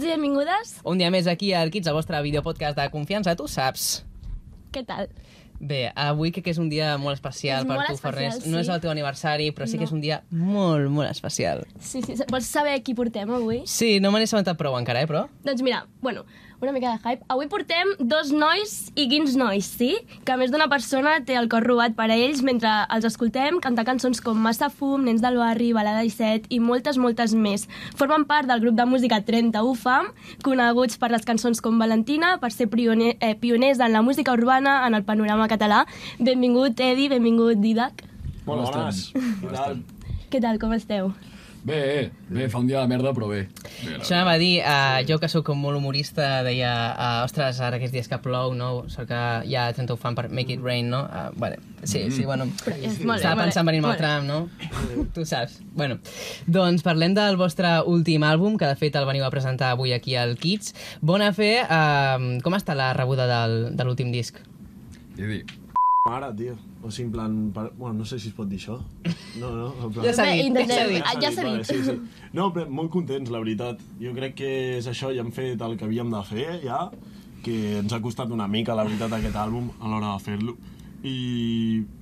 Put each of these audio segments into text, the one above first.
Carles. Un dia més aquí a Arquits, el vostre videopodcast de confiança, tu saps. Què tal? Bé, avui crec que és un dia molt especial És per molt tu, especial, Farners. sí. No és el teu aniversari, però sí que No. és un dia molt, molt especial. Sí, sí. Vols saber qui portem avui? Sí, no me n'he assabentat prou encara, eh, però... Doncs mira, bueno, una mica de hype. Avui portem dos nois i quins nois, sí? Que a més d'una persona té el cor robat per a ells mentre els escoltem cantar cançons com Massa Fum, Nens del Barri, Balada 17 i moltes, moltes més. Formen part del grup de música 30 UFAM, coneguts per les cançons com Valentina, per ser pioner, eh, pioners en la música urbana en el panorama català. Benvingut, Edi, benvingut, Didac. Molt Com bones. estem? Què Com tal? estem? Què tal, com esteu? Bé, eh? bé, fa un dia de merda, però bé. bé la Això anava a dir, uh, jo que sóc com molt humorista, deia, uh, ostres, ara aquests dies que plou, no? Sort que ja tens ho fan per Make It Rain, no? Uh, vale. Sí, sí, bueno. Però és molt bé, Estava molt pensant bé, venir amb el molt bé. tram, no? Tu saps. Bueno, doncs parlem del vostre últim àlbum, que de fet el veniu a presentar avui aquí al Kids. Bona fe, uh, com està la rebuda del, de l'últim disc? veritat. I dir, Mare, tio. O sigui, en plan... Per... Bueno, no sé si es pot dir això. No, no, en plan... Ja s'ha Bé, dit, intentem- ja s'ha dit. Ah, ja s'ha vale, dit. Sí, sí. No, però molt contents, la veritat. Jo crec que és això, ja hem fet el que havíem de fer, ja, que ens ha costat una mica, la veritat, aquest àlbum a l'hora de fer-lo. I,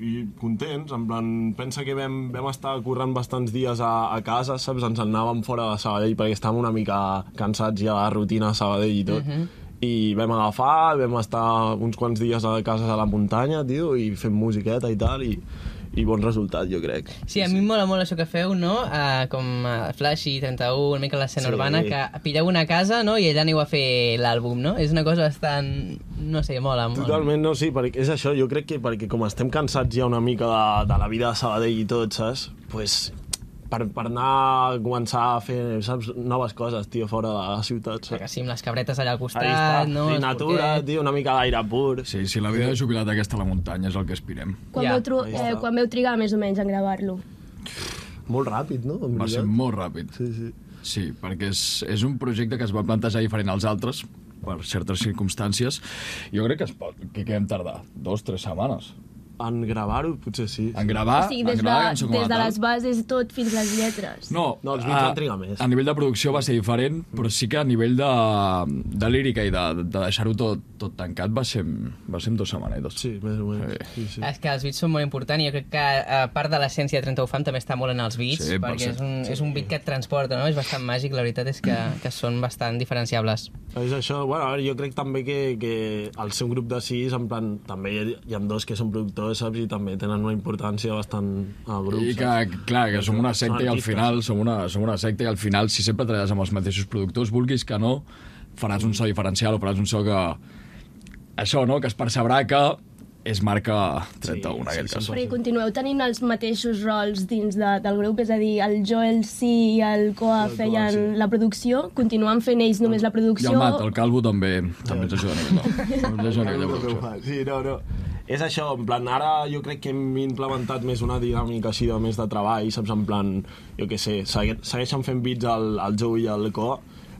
I contents, en plan, pensa que vam, vam estar currant bastants dies a, a casa, saps? Ens en anàvem fora de Sabadell perquè estàvem una mica cansats ja de la rutina a Sabadell i tot. Uh Mhm. -huh. I vam agafar, vam estar uns quants dies a casa a la muntanya, tio, i fent musiqueta i tal, i, i bon resultat, jo crec. Sí, a mi em mola molt això que feu, no? Uh, com uh, Flashy, 31, una mica l'escena Sí. urbana, que pilleu una casa, no? I allà aneu a fer l'àlbum, no? És una cosa bastant... No sé, mola, mola. Totalment, no, sí, perquè és això, jo crec que perquè com estem cansats ja una mica de, de la vida de Sabadell i tot, saps? Pues, per, per anar a començar a fer, saps, noves coses, tio, fora de la ciutat, Que saps? sí, amb les cabretes allà al costat, Ahí està, no? sí, Els natura, porquets. tio, una mica d'aire pur. sí, si la vida de jubilat aquesta a la muntanya és el que aspirem. Quan, Ja, veu, tru- ahí eh, està. quan veu trigar més o menys en gravar-lo? Molt ràpid, no? En Va ser veritat. molt ràpid. Sí, sí. Sí, perquè és, és un projecte que es va plantejar diferent als altres, per certes circumstàncies. Jo crec que es pot, que què hem tardat? Dos, tres setmanes. En gravar-ho, potser sí. En gravar, o sigui, en des, de, gravar la cançó com a des de tal. les bases tot fins les lletres. No, No, els beats a- van trigar més. A nivell de producció va ser diferent, però sí que a nivell de, de lírica i de, de deixar-ho tot, tot tancat va ser, en- va ser en dues setmanetes. Sí, més o menys. Sí, sí. És que els beats són molt importants i jo crec que a part de l'essència de 30 Ufam també està molt en els beats, Sí, per perquè cert. és un, és un beat que et transporta, no? És bastant màgic, la veritat és que, que són bastant diferenciables. És això, bueno, a veure, jo crec també que, que el seu grup de sis, en plan, també hi ha, hi ha dos que són productors, saps? I també tenen una importància bastant al grup. I que, saps? clar, que som una Són secta i al artistes. final som una, som una secta i al final si sempre treballes amb els mateixos productors, vulguis que no, faràs un so diferencial o faràs un so que... Això, no?, que es percebrà que és marca 31, en Sí, aquell sí, cas. sí, Però hi continueu tenint els mateixos rols dins de, del grup, és a dir, el Joel sí i el Coa Coa, feien sí. la producció, continuen fent ells només la I producció... el Mat, el Calvo, també, també ens ajuda a nivell de, també ens ajuda a nivell de producció. Sí, no, no. És això, en plan, ara jo crec que hem implementat més una dinàmica així de més de treball, saps? En plan, jo què sé, segue segueixen fent beats al, al Joe i al Co,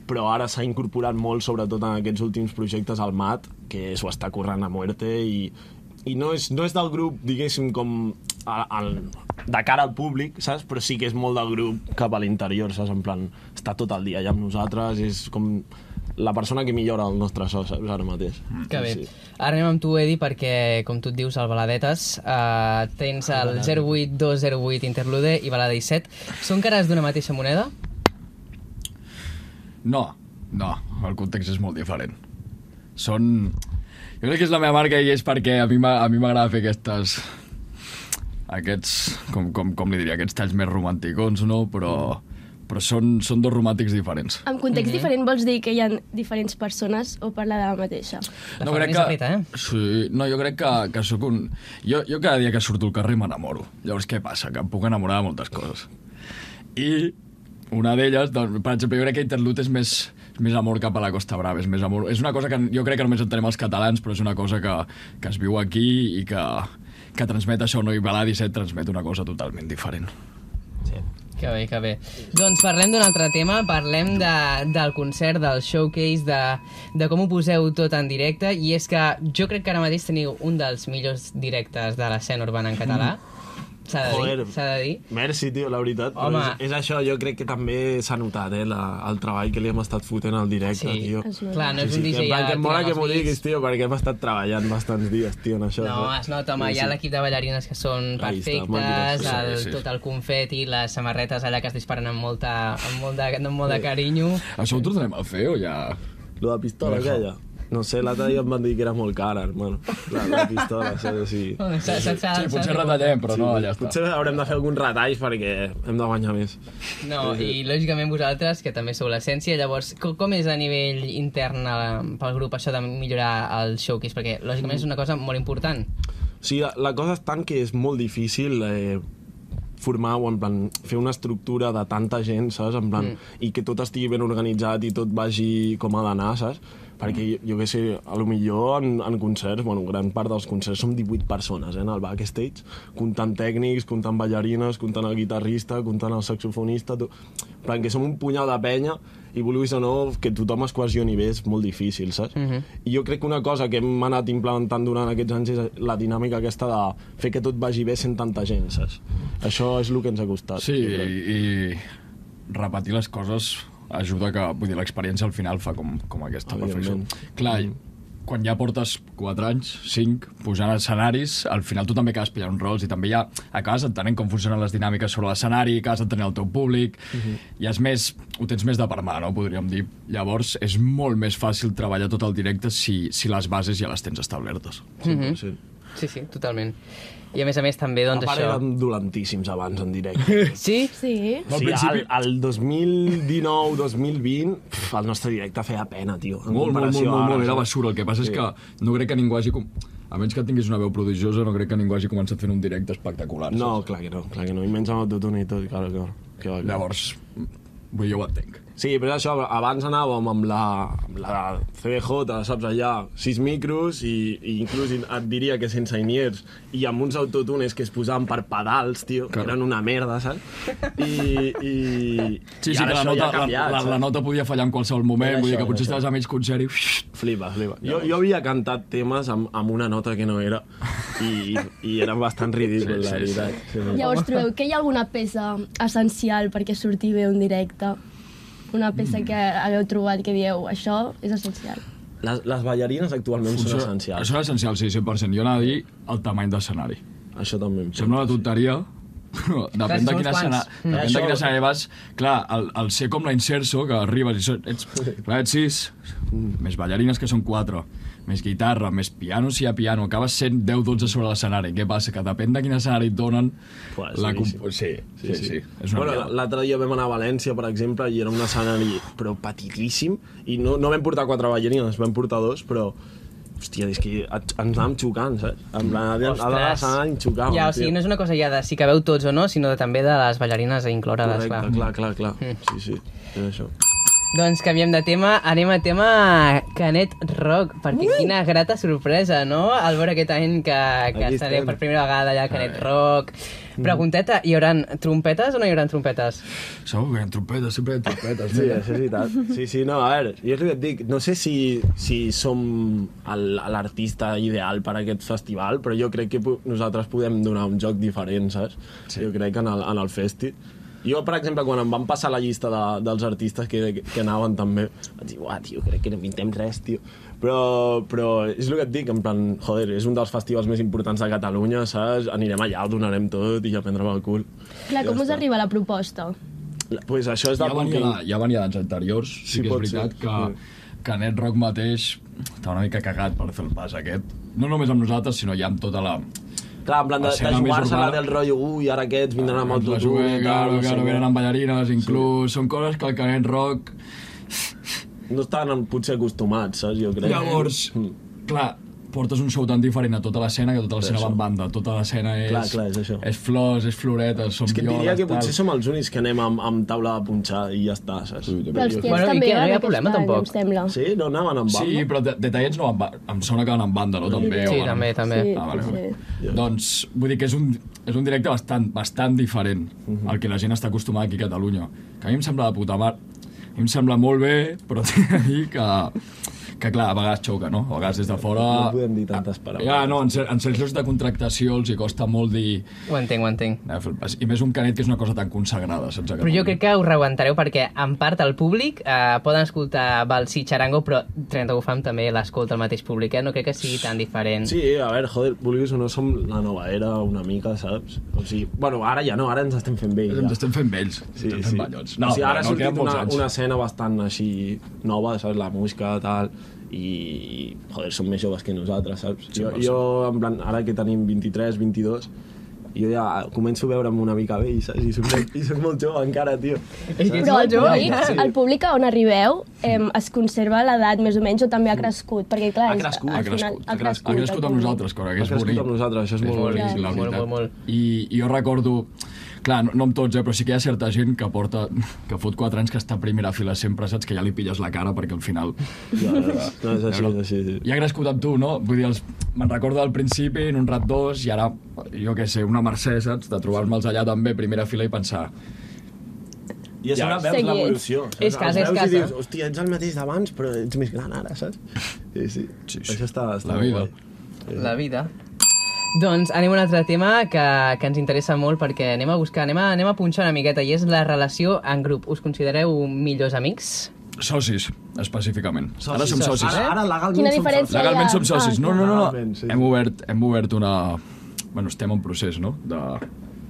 però ara s'ha incorporat molt, sobretot en aquests últims projectes, al Mat, que s'ho està currant a muerte i, i no és, no és del grup, diguéssim, com a, al, de cara al públic, saps? Però sí que és molt del grup cap a l'interior, saps? En plan, està tot el dia allà amb nosaltres, és com la persona que millora el nostre so, saps? Ara mateix. Que bé. Ara anem amb tu, Edi, perquè, com tu et dius, al Baladetes eh, tens el 08208 Interlude i Balada 17. Són cares d'una mateixa moneda? No, no, el context és molt diferent. Són... Jo crec que és la meva marca i és perquè a mi m'a- a mi m'agrada fer aquestes... Aquests, com, com, com li diria, aquests talls més romanticons, no? Però, però són, són dos romàntics diferents. En Mhm. context diferent vols dir que hi ha diferents persones o parla de la mateixa? La Ferran és aprieta, eh? Sí, no, jo crec que, que sóc un... Jo, jo cada dia que surto al carrer m'enamoro. Llavors, què passa? Que em puc enamorar de moltes coses. I una d'elles, doncs, per exemple, jo crec que Interlut és més, és més amor cap a la Costa Brava, és més amor... És una cosa que jo crec que només entenem els catalans, però és una cosa que, que es viu aquí i que, que transmet això, no? I Baladi 17 transmet una cosa totalment diferent. Que bé, que bé. Doncs parlem d'un altre tema, parlem de, del concert, del showcase, de, de com ho poseu tot en directe, i és que jo crec que ara mateix teniu un dels millors directes de l'escena urbana en català. s'ha de dir, Mm. Joder. s'ha de dir. Merci, tio, la veritat. però Home. És, és això, jo crec que també s'ha notat, eh, la, el treball que li hem estat fotent al directe, Sí, tio. Es nota. clar, no és Sí, un sí, que, DJ en plan, que em mola tirant que els m'ho bits. diguis, tio, perquè hem estat treballant bastants dies, tio, en això. eh. No, es nota, home, hi ha l'equip de ballarines que són Ahí està, molt perfectes, divertit. el, Sí, sí. tot el confeti, les samarretes allà que es disparen amb, molta, amb, molt, de, amb molt de carinyo. Això ho tornarem a fer o ja... Lo de la pistola aquella. No sé, l'altre dia em van dir que era molt cara, hermano. La, la pistola, saps? O sigui... Bueno, s'ha- s'ha- s'ha- s'ha Sí, potser de- retallem, però no, ja està. Potser haurem de fer algun retall perquè hem de guanyar més. No, i lògicament vosaltres, que també sou l'essència, llavors, co- com és a nivell intern eh, pel grup això de millorar el showcase? Perquè, lògicament, és una cosa molt important. O sigui, la, la cosa és tant que és molt difícil eh, formar o en plan, fer una estructura de tanta gent, saps? En plan, mm. I que tot estigui ben organitzat i tot vagi com ha d'anar, saps? Perquè jo, jo què sé, a lo millor en, en concerts, bueno, gran part dels concerts som 18 persones eh, en el backstage, comptant tècnics, comptant ballarines, comptant el guitarrista, comptant el saxofonista, tot... en plan que som un punyal de penya i vulguis o no que tothom es cohesioni bé és molt difícil, saps? Mm -hmm. I jo crec que una cosa que hem anat implementant durant aquests anys és la dinàmica aquesta de fer que tot vagi bé sent tanta gent, saps? Això és el que ens ha costat. Sí, jo crec. i, i repetir les coses ajuda que... Vull dir, l'experiència al final fa com, com aquesta perfecció. Evidentment. Mm. Clar, i quan ja portes 4 anys, 5, posant escenaris, al final tu també acabes pillant uns rols i també ja acabes entenent com funcionen les dinàmiques sobre l'escenari, acabes entenent el teu públic, uh -huh. Mhm. i és més, ho tens més de per mà, no? podríem dir. Llavors, és molt més fàcil treballar tot el directe si, si les bases ja les tens establertes. Sí, mm -hmm. sí. Sí, sí, totalment. I a més a més també, A doncs, part això... érem dolentíssims abans en directe. Sí? Sí. Al Sí, principi- el, el 2019-2020 el nostre directe feia pena, tio. en Molt, molt, molt, comparació a molt, ara, molt, era saps? basura. El que passa sí. és que no crec que ningú hagi... Com... A menys que tinguis una veu prodigiosa, no crec que ningú hagi començat fent un directe espectacular. No, saps? clar que no, clar que no. I menys amb autotune i tot, clar, clar. Que va, clar. Llavors, vull dir, jo ho entenc. Sí, però és això, abans anàvem amb la, amb la CBJ, saps, allà, sis micros i, i inclús et diria que sense iniers i amb uns autotunes que es posaven per pedals, tio, que Claro. eren una merda, saps? I, i, Sí, sí, i que ara la això ja nota, ha canviat, la, la, la saps? nota podia fallar en qualsevol moment, Era vull dir això, que potser era estaves a mig concert i... Uix, Flipa, flipa. Jo, jo havia cantat temes amb, amb una nota que no era i, i eren bastant Sí, ridículs, la sí, sí. veritat. Sí, sí. Llavors trobeu que hi ha alguna peça essencial perquè surti bé un directe? Una peça que hagueu trobat que dieu, això és essencial. Les, les ballarines actualment són essencials. Són essencials, sí, 100%. Jo anava a dir el tamany d'escenari. Això també em Sembla una tonteria, però depèn són de uns quina quants. escena... Mm. Depèn de Això- quina escena vas... Clar, el, el ser com la inserso, que arribes i so, ets... Clar, ets sis, més ballarines que són quatre, més guitarra, més piano, si hi ha piano, acabes sent 10-12 sobre l'escenari. Què passa? Que depèn de quin escenari et donen... Buah, és la boníssim. compo- sí, sí, sí, sí, És una bueno, bueno, l'altre dia vam anar a València, per exemple, i era un escenari però petitíssim, i no, no vam portar quatre ballarines, vam portar dos, però hòstia, és que et- ens anàvem xocant, saps? En plan, a dalt a dalt de l'escenari ens xocàvem. ja, o sigui, tio. no és una cosa ja de si que veu tots o no, sinó de, també de les ballarines incloure-les, Correcte, clar. Mm. clar, clar, clar. Sí, sí, és això. Doncs canviem de tema, anem a tema Canet Rock, perquè quina grata sorpresa, no? Al veure aquest any que, que Aquí estaré estem. Mm. per primera vegada allà a Canet Rock. Pregunteta, hi haurà trompetes o no hi haurà trompetes? Segur que hi ha trompetes, sempre hi ha trompetes. Sí, nena. això és veritat. Sí, sí, no, a veure, jo és el que et dic, no sé si, si som el- l'artista ideal per a aquest festival, però jo crec que po- nosaltres podem donar un joc diferent, saps? Sí. Jo crec que en el, en el festi. Jo, per exemple, quan em van passar la llista de, dels artistes que, que anaven també, vaig dir, uah, tio, crec que no pintem res, tio. Però, però és el que et dic, en plan, joder, és un dels festivals més importants de Catalunya, saps? Anirem allà, ho donarem tot i a prendre'm el cul. Clar, com us arriba la proposta? Doncs pues això és ja del venia, booking. de, ja venia d'anys anteriors, sí, Sí, sí que és pot ser, veritat que, sí. que Net Rock mateix estava una mica cagat per fer el pas aquest. No només amb nosaltres, sinó ja amb tota la... Clar, en plan de, de Escena més jugar-se-la urbana. del rotllo, ui, ara aquests vindran amb la autotune... jugué, tal, claro, sé claro, què. venen amb ballarines, inclús... Sí. Són coses que el Canet Rock... No estan potser acostumats, saps, jo crec. Mm. Llavors, clar, portes un show tan diferent a tota l'escena que tota l'escena Això. va en banda, tota l'escena és... Clar, clar, és això. És flors, és floretes, són És que et diria violes, que potser tal. som els únics que anem amb, amb taula de punxar i ja està, saps? Sí, Però els tiets Bueno, i també què, no hi ha van aquest problema, any, tampoc? Em sembla. Sí? No anaven amb banda? Sí, però de- detallets no van... ba- Em sona que van en banda, no? També, o Sí, van- també, també. Sí, Ah, vale, sí. vale. Doncs vull dir que és un, és un directe bastant, bastant diferent Mhm. al que la gent està acostumada aquí a Catalunya. Que a mi em sembla de puta mar. A mi em sembla molt bé, però tinc a dir que, que clar, a vegades xoca, no? A vegades des de fora... Ah, No podem dir tantes paraules. Ja, no, en, cer- en certs llocs de contractació els hi costa molt dir... Ho entenc, ho entenc. "Anem a fer el pas". I més un canet que és una cosa tan consagrada, saps? Però jo crec que ho reguantareu perquè, en part, el públic eh, poden escoltar Balsi Charango, però 30 Gofam també l'escolta el mateix públic, eh? No crec que sigui tan diferent. Sí, a veure, joder, vulguis o no, som la nova era una mica, saps? O sigui, bueno, ara ja no, ara ens estem fent bé. Ens Ja. estem fent vells, sí, Sí, ens estem sí. fent ballots. No, Doncs o sigui, ara no, ha sortit queden molts una, anys. una escena bastant així nova, saps? La música, tal, i, joder, són més joves que nosaltres, saps? Sí, jo, molt, sí. jo, en plan, ara que tenim 23, 22, jo ja començo a veure'm una mica vell, saps? I soc molt, i soc molt jove encara, tio. És que ets Però el molt jove. públic, el públic a on arriveu eh, es conserva l'edat més o menys o també ha crescut? Perquè, clar, Ha és- crescut, ha al final, crescut, ha crescut. ha crescut el amb públic. nosaltres, cosa que Ha és crescut bonic. amb nosaltres, això és molt molt bonic. bonic, la molt, veritat. molt, molt. I, I jo recordo, clar, no, no amb tots, eh, però sí que hi ha certa gent que porta, que fot 4 anys que està a primera fila sempre, saps? Que ja li pilles la cara perquè al final... Ja, ja, no, és així, és així. Sí. I ha crescut amb tu, no? Vull dir, els... me'n recordo al principi, en un rat dos, i ara, jo què sé, una Mercè, saps? De trobar-me'ls allà també, primera fila, i pensar... I a sobre Ja. veus Seguits. l'evolució. saps? És casa, Els és veus i casa. Dius, hòstia, ets el mateix d'abans, però ets més gran ara, saps? Sí, sí. Sí, sí. Això està, està La molt vida. guai. La vida. Doncs anem a un altre tema que, que ens interessa molt perquè anem a buscar, anem a, anem a punxar una miqueta i és la relació en grup. Us considereu millors amics? Socis, específicament. Socis, ara som socis. Ara, ara legalment Quina som diferència? socis. Legalment Ja. som socis. Ah, No, no, no. no. Legalment, sí, sí. Hem obert, hem obert una... Bueno, estem en procés, no? De,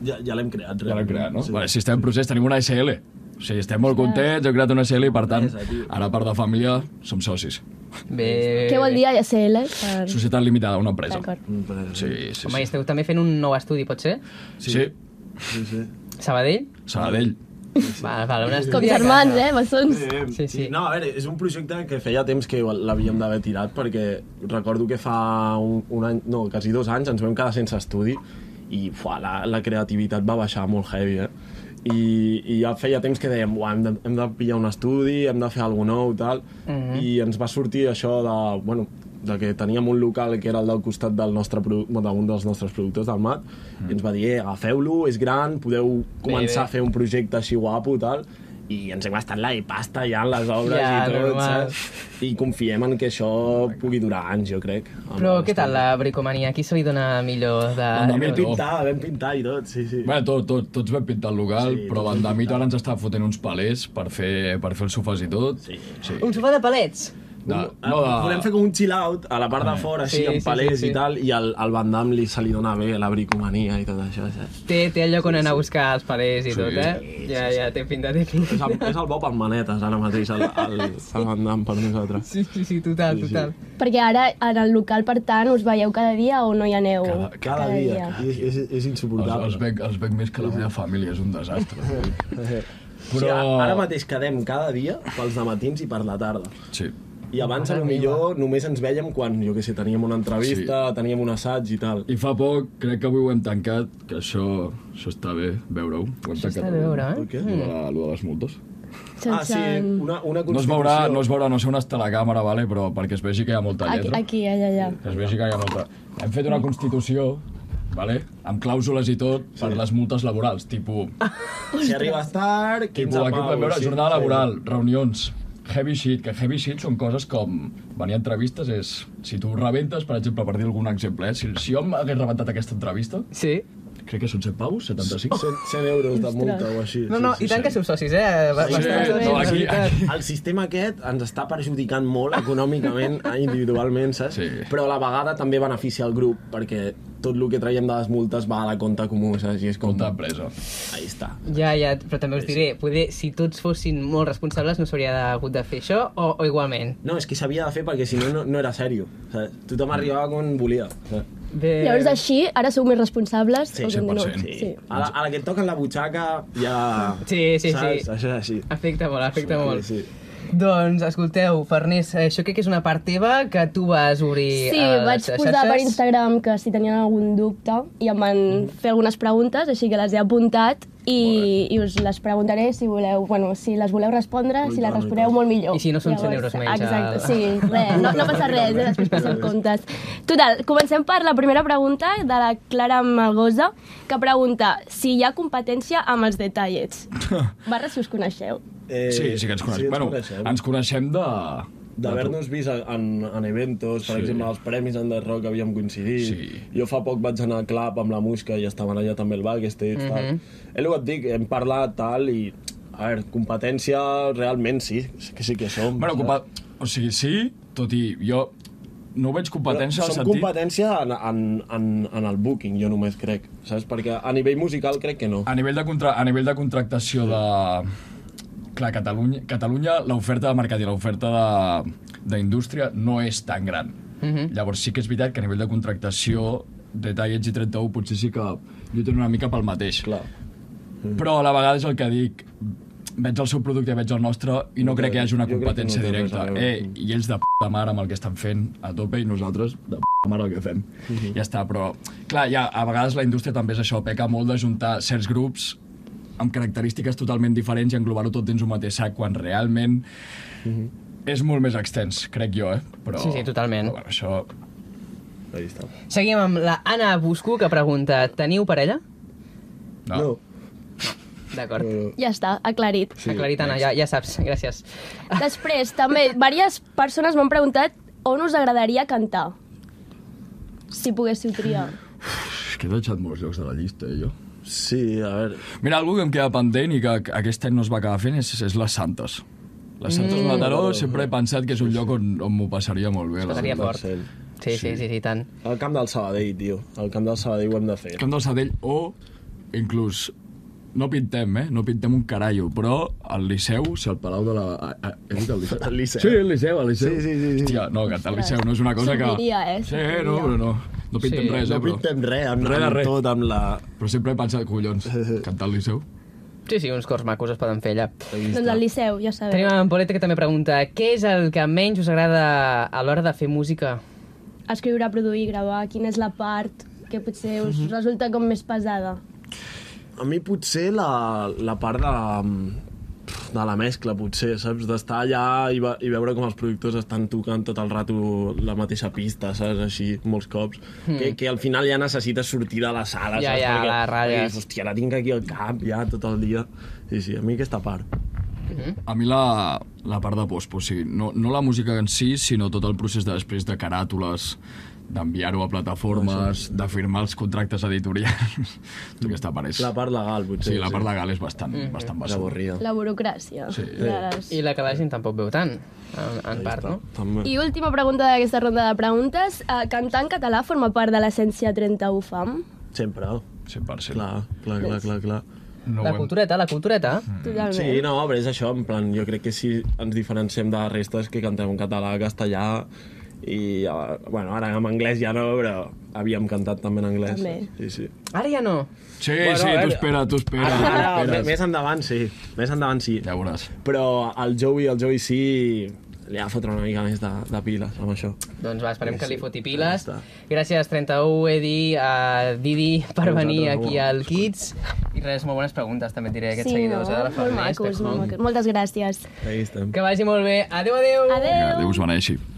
Ja, ja l'hem creat. Ja l'hem realment. creat, no? Sí. Sí. Vale, si estem en procés, tenim una SL. O sigui, estem molt contents, hem creat una SL i, per tant, Empresa, tio. ara part de família som socis. Bé... Què vol dir ASL? Per... Societat limitada, una empresa. D'acord. Mm, Sí, sí, Home, i sí. esteu també fent un nou estudi, pot ser? Sí, sí. Sí, sí. Sabadell? Sabadell. Val, val, un Com estudi... germans, eh? Bessons. Sí, sí. No, a veure, és un projecte que feia temps que l'havíem d'haver tirat perquè recordo que fa un, un any, no, quasi dos anys ens vam quedar sense estudi i fuà, la, la creativitat va baixar molt heavy, eh? I, i ja feia temps que dèiem "Buah, hem de, hem de pillar un estudi, hem de fer alguna nou tal, Mhm. i ens va sortir això de, bueno, de que teníem un local que era el del costat del nostre produ- bueno, d'un dels nostres productors del MAT, i ens va dir, eh, agafeu-lo, és gran, podeu començar bé. a fer un projecte així guapo i tal, i ens hem gastat la de pasta ja en les obres Ja, i tot, normal. saps? I confiem en que això pugui durar anys, jo crec. Però què tal la bricomania? A qui se li dona millor de... Vam Vam Vam pintar, vam pintar i tot, sí, sí. Bé, tot, tot, tots vam pintar el local, Sí, sí, però tots vam l'endemita ara ens està fotent uns palers per fer, per fer els sofàs i tot. Sí. sí. Un sofà de palets? De, no, Ah, Podem fer de, com un chill out a la part de fora, així, Sí, amb sí, palers sí, sí. i tal, i al, al Van Damme li se li dona bé la bricomania i tot això, saps? Té, té el lloc on anar a buscar els palers i Sí, tot, eh? sí, Ja, ja, té pinta, té És pinta. el, és el Bob amb manetes, ara mateix, el, el, el Van Damme per nosaltres. Sí, sí, sí, total, Sí, sí. total. Perquè ara, en el local, per tant, us veieu cada dia o no hi aneu? Cada- Cada, dia, I és, és, és els, insuportable. els, bec, els bec més que la meva família, és un desastre. Però... O sigui, Però- ara mateix quedem cada dia pels dematins i per la tarda. Sí. I abans, a lo millor, només ens vèiem quan, jo què sé, teníem una entrevista, sí. teníem un assaig i tal. I fa poc, crec que avui ho hem tancat, que això, això està bé, veure-ho. Ho hem Això està tancat a avui. veure, Per eh? què? Lo de, lo de les multes. Ah, sí, una, No una es constitució. veurà, no es veurà, no sé on està la càmera, vale? però perquè es vegi que hi ha molta Aquí, lletra. aquí, allà, allà. Que es vegi que hi ha molta... Hem fet una constitució, vale? amb clàusules i tot, per les multes laborals, tipus... Si arribes tard, 15 tipus aquí podem veure sí, jornada sí. laboral, reunions, heavy shit, que heavy shit són coses com venir a entrevistes és... Si tu rebentes, per exemple, per dir algun exemple, eh? si, si jo hagués rebentat aquesta entrevista, Sí. crec que són 100 paus, 75? 100, 100 euros de multa o així. No, no, i tant que sou socis, eh? Ba- Sí, bastants no, socis, la aquí- veritat. El sistema aquest ens està perjudicant molt econòmicament, eh, individualment, saps? Sí. Però a la vegada també beneficia el grup, perquè tot el que traiem de les multes va a la compte comú, saps? I és com... Compte empresa. Ahí està. Ja, ja, però també us diré, poder, si tots fossin molt responsables no s'hauria de- hagut de fer això, o, o igualment? No, és que s'havia de fer perquè si no, no, no era sèrio. Saps? Mm. Tothom arribava quan volia. Saps? Bé... Llavors, així, ara sou més responsables? Eh, Sí, o com 100%. No? Sí. A la, a la que et toquen la butxaca ja... Sí, sí, saps? sí. Això és així. Afecta molt, afecta Sí, molt. sí. Doncs, escolteu, Farners, eh, això crec que és una part teva que tu vas obrir Sí, a les vaig xarxes. Mm. posar per Instagram que si tenien algun dubte i em van fer algunes preguntes, així que les he apuntat i, i us les preguntaré si voleu, bueno, si les voleu respondre, Ui, si les tant, responeu i tant. molt millor. I si no són cent euros menys eh, al- Exacte, sí, res, no, no passa res, eh, després passen comptes. Total, comencem per la primera pregunta de la Clara Malgosa, que pregunta si hi ha competència amb els detallets. Barra si us coneixeu. Eh, Sí, sí que ens coneixem. ens bueno, coneixem. ens coneixem de... d'haver-nos vist en, en eventos, Sí. per sí. exemple, els premis en The Rock havíem coincidit. Sí. Jo fa poc vaig anar al club amb la Musca i estaven allà també el backstage. Mm Mhm. -hmm. És el que et dic, hem parlat tal i... A veure, competència realment sí, que sí que som. Bueno, saps? compa... O sigui, sí, tot i jo no ho veig competència al Som sentit... competència en, en, en, en el booking, jo només crec, saps? Perquè a nivell musical crec que no. A nivell de, contra... a nivell de contractació de... Clar, Catalunya, Catalunya l'oferta de mercat i l'oferta de- d'indústria no és tan gran. Llavors sí que és veritat que a nivell de contractació de Tallets i 31 potser sí que lluiten una mica pel mateix. Clar. Però a la vegada és el que dic, veig el seu producte i veig el nostre i no Jo crec que hi hagi una crec que no competència té res directa. a veure. Eh, I ells de p*** mare amb el que estan fent a tope i nosaltres de p*** mare el que fem. Mhm. Ja està, però... Clar, ja, a vegades la indústria també és això, peca molt de juntar certs grups amb característiques totalment diferents i englobar-ho tot dins un mateix sac, quan realment Mhm. és molt més extens, crec jo, eh? Però, Sí, sí, totalment. Però, bueno, això... Ahí està. Seguim amb la Anna Busco, que pregunta, teniu parella? No. no. D'acord. no. Ja està, aclarit. Sí, Aclarit, Anna, ja, ja saps, gràcies. Després, també, diverses persones m'han preguntat on us agradaria cantar. Si poguéssiu triar. És que he deixat molts llocs de la llista, eh, jo. Sí, a veure... Mira, algú que em queda pendent i que aquest any no es va acabar fent és, és les Santes. Les Santes mm. Mataró sempre he pensat que és un lloc on, on m'ho passaria molt bé. la passaria veritat. fort. Sí, sí, sí, sí, tant. El camp del Sabadell, tio. El camp del Sabadell ho hem de fer. Camp del Sadell o, inclús, no pintem, eh? No pintem un carallo, però al Liceu, si al Palau de la... a- a- He dit el Liceu? El Liceu. Sí, el Liceu, el Liceu. Sí, sí, sí, sí. Hòstia, no, que el Liceu no és una cosa que... S'obriria, eh? Sí, no, però no. No pintem Sí, sí, res, No eh, però... pintem res, amb, Res de amb res. tot, amb la... Però sempre he pensat, collons, cantar al Liceu. Sí, sí, uns cors macos es poden fer allà. Doncs al Liceu, ja sabeu. Tenim en Poleta que també pregunta què és el que menys us agrada a l'hora de fer música? Escriure, produir, gravar, quina és la part que potser us Mhm. resulta com més pesada. A mi potser la, la part de de la mescla, potser, saps? D'estar allà i, ve- i veure com els productors estan tocant tot el rato la mateixa pista, saps? Així, molts cops. Mm. Que, que al final ja necessites sortir de la sala, Hmm. Ja, saps? ja, Perquè la ratlla. dius, Hòstia, la tinc aquí al cap ja tot el dia. Sí, sí, a mi aquesta part. A mi la, la part de post, o sigui, no, no la música en si, sinó tot el procés de després de caràtules, d'enviar-ho a plataformes, de firmar els contractes editorials... Tot aquesta part és... La part legal, potser. Sí, la part legal és bastant, mm -hmm. bastant És basura. avorrida. La burocràcia. Sí. Les... I la que la gent tampoc veu tant, en, en part, no? També. I última pregunta d'aquesta ronda de preguntes. Uh, cantar en català forma part de l'essència 31 Mm. fam? Sempre. oh. 100%. Clar, clar, clar, clar, clar. No La ho hem- cultureta, la cultureta. Totalment. Sí, no, però és això, en plan, jo crec que si ens diferenciem de la resta és que cantem en català, castellà i, eh, bueno, ara en anglès ja no, però havíem cantat també en anglès. També. Sí, sí. Ara ja no. Sí, Bueno, sí, a veure- tu espera, tu espera. Ara, ara, tu me- espera. Ah, més endavant sí, més endavant sí. Ja veuràs. Però el Joey, el Joey sí, li ha de fotre una mica més de, de piles amb això. Doncs va, esperem que li foti piles. està. Gràcies, 31, Edi, a Didi, per Vosaltres, venir aquí home. al Kids. I res, molt bones preguntes, també et diré, aquests Sí, no? seguidors. eh, de la Molt Farners, macos, Tecmo. molt macos. Moltes gràcies. Ahí estem. Que vagi molt bé. Adéu, adéu. Adeu. Vinga, Déu us beneixi.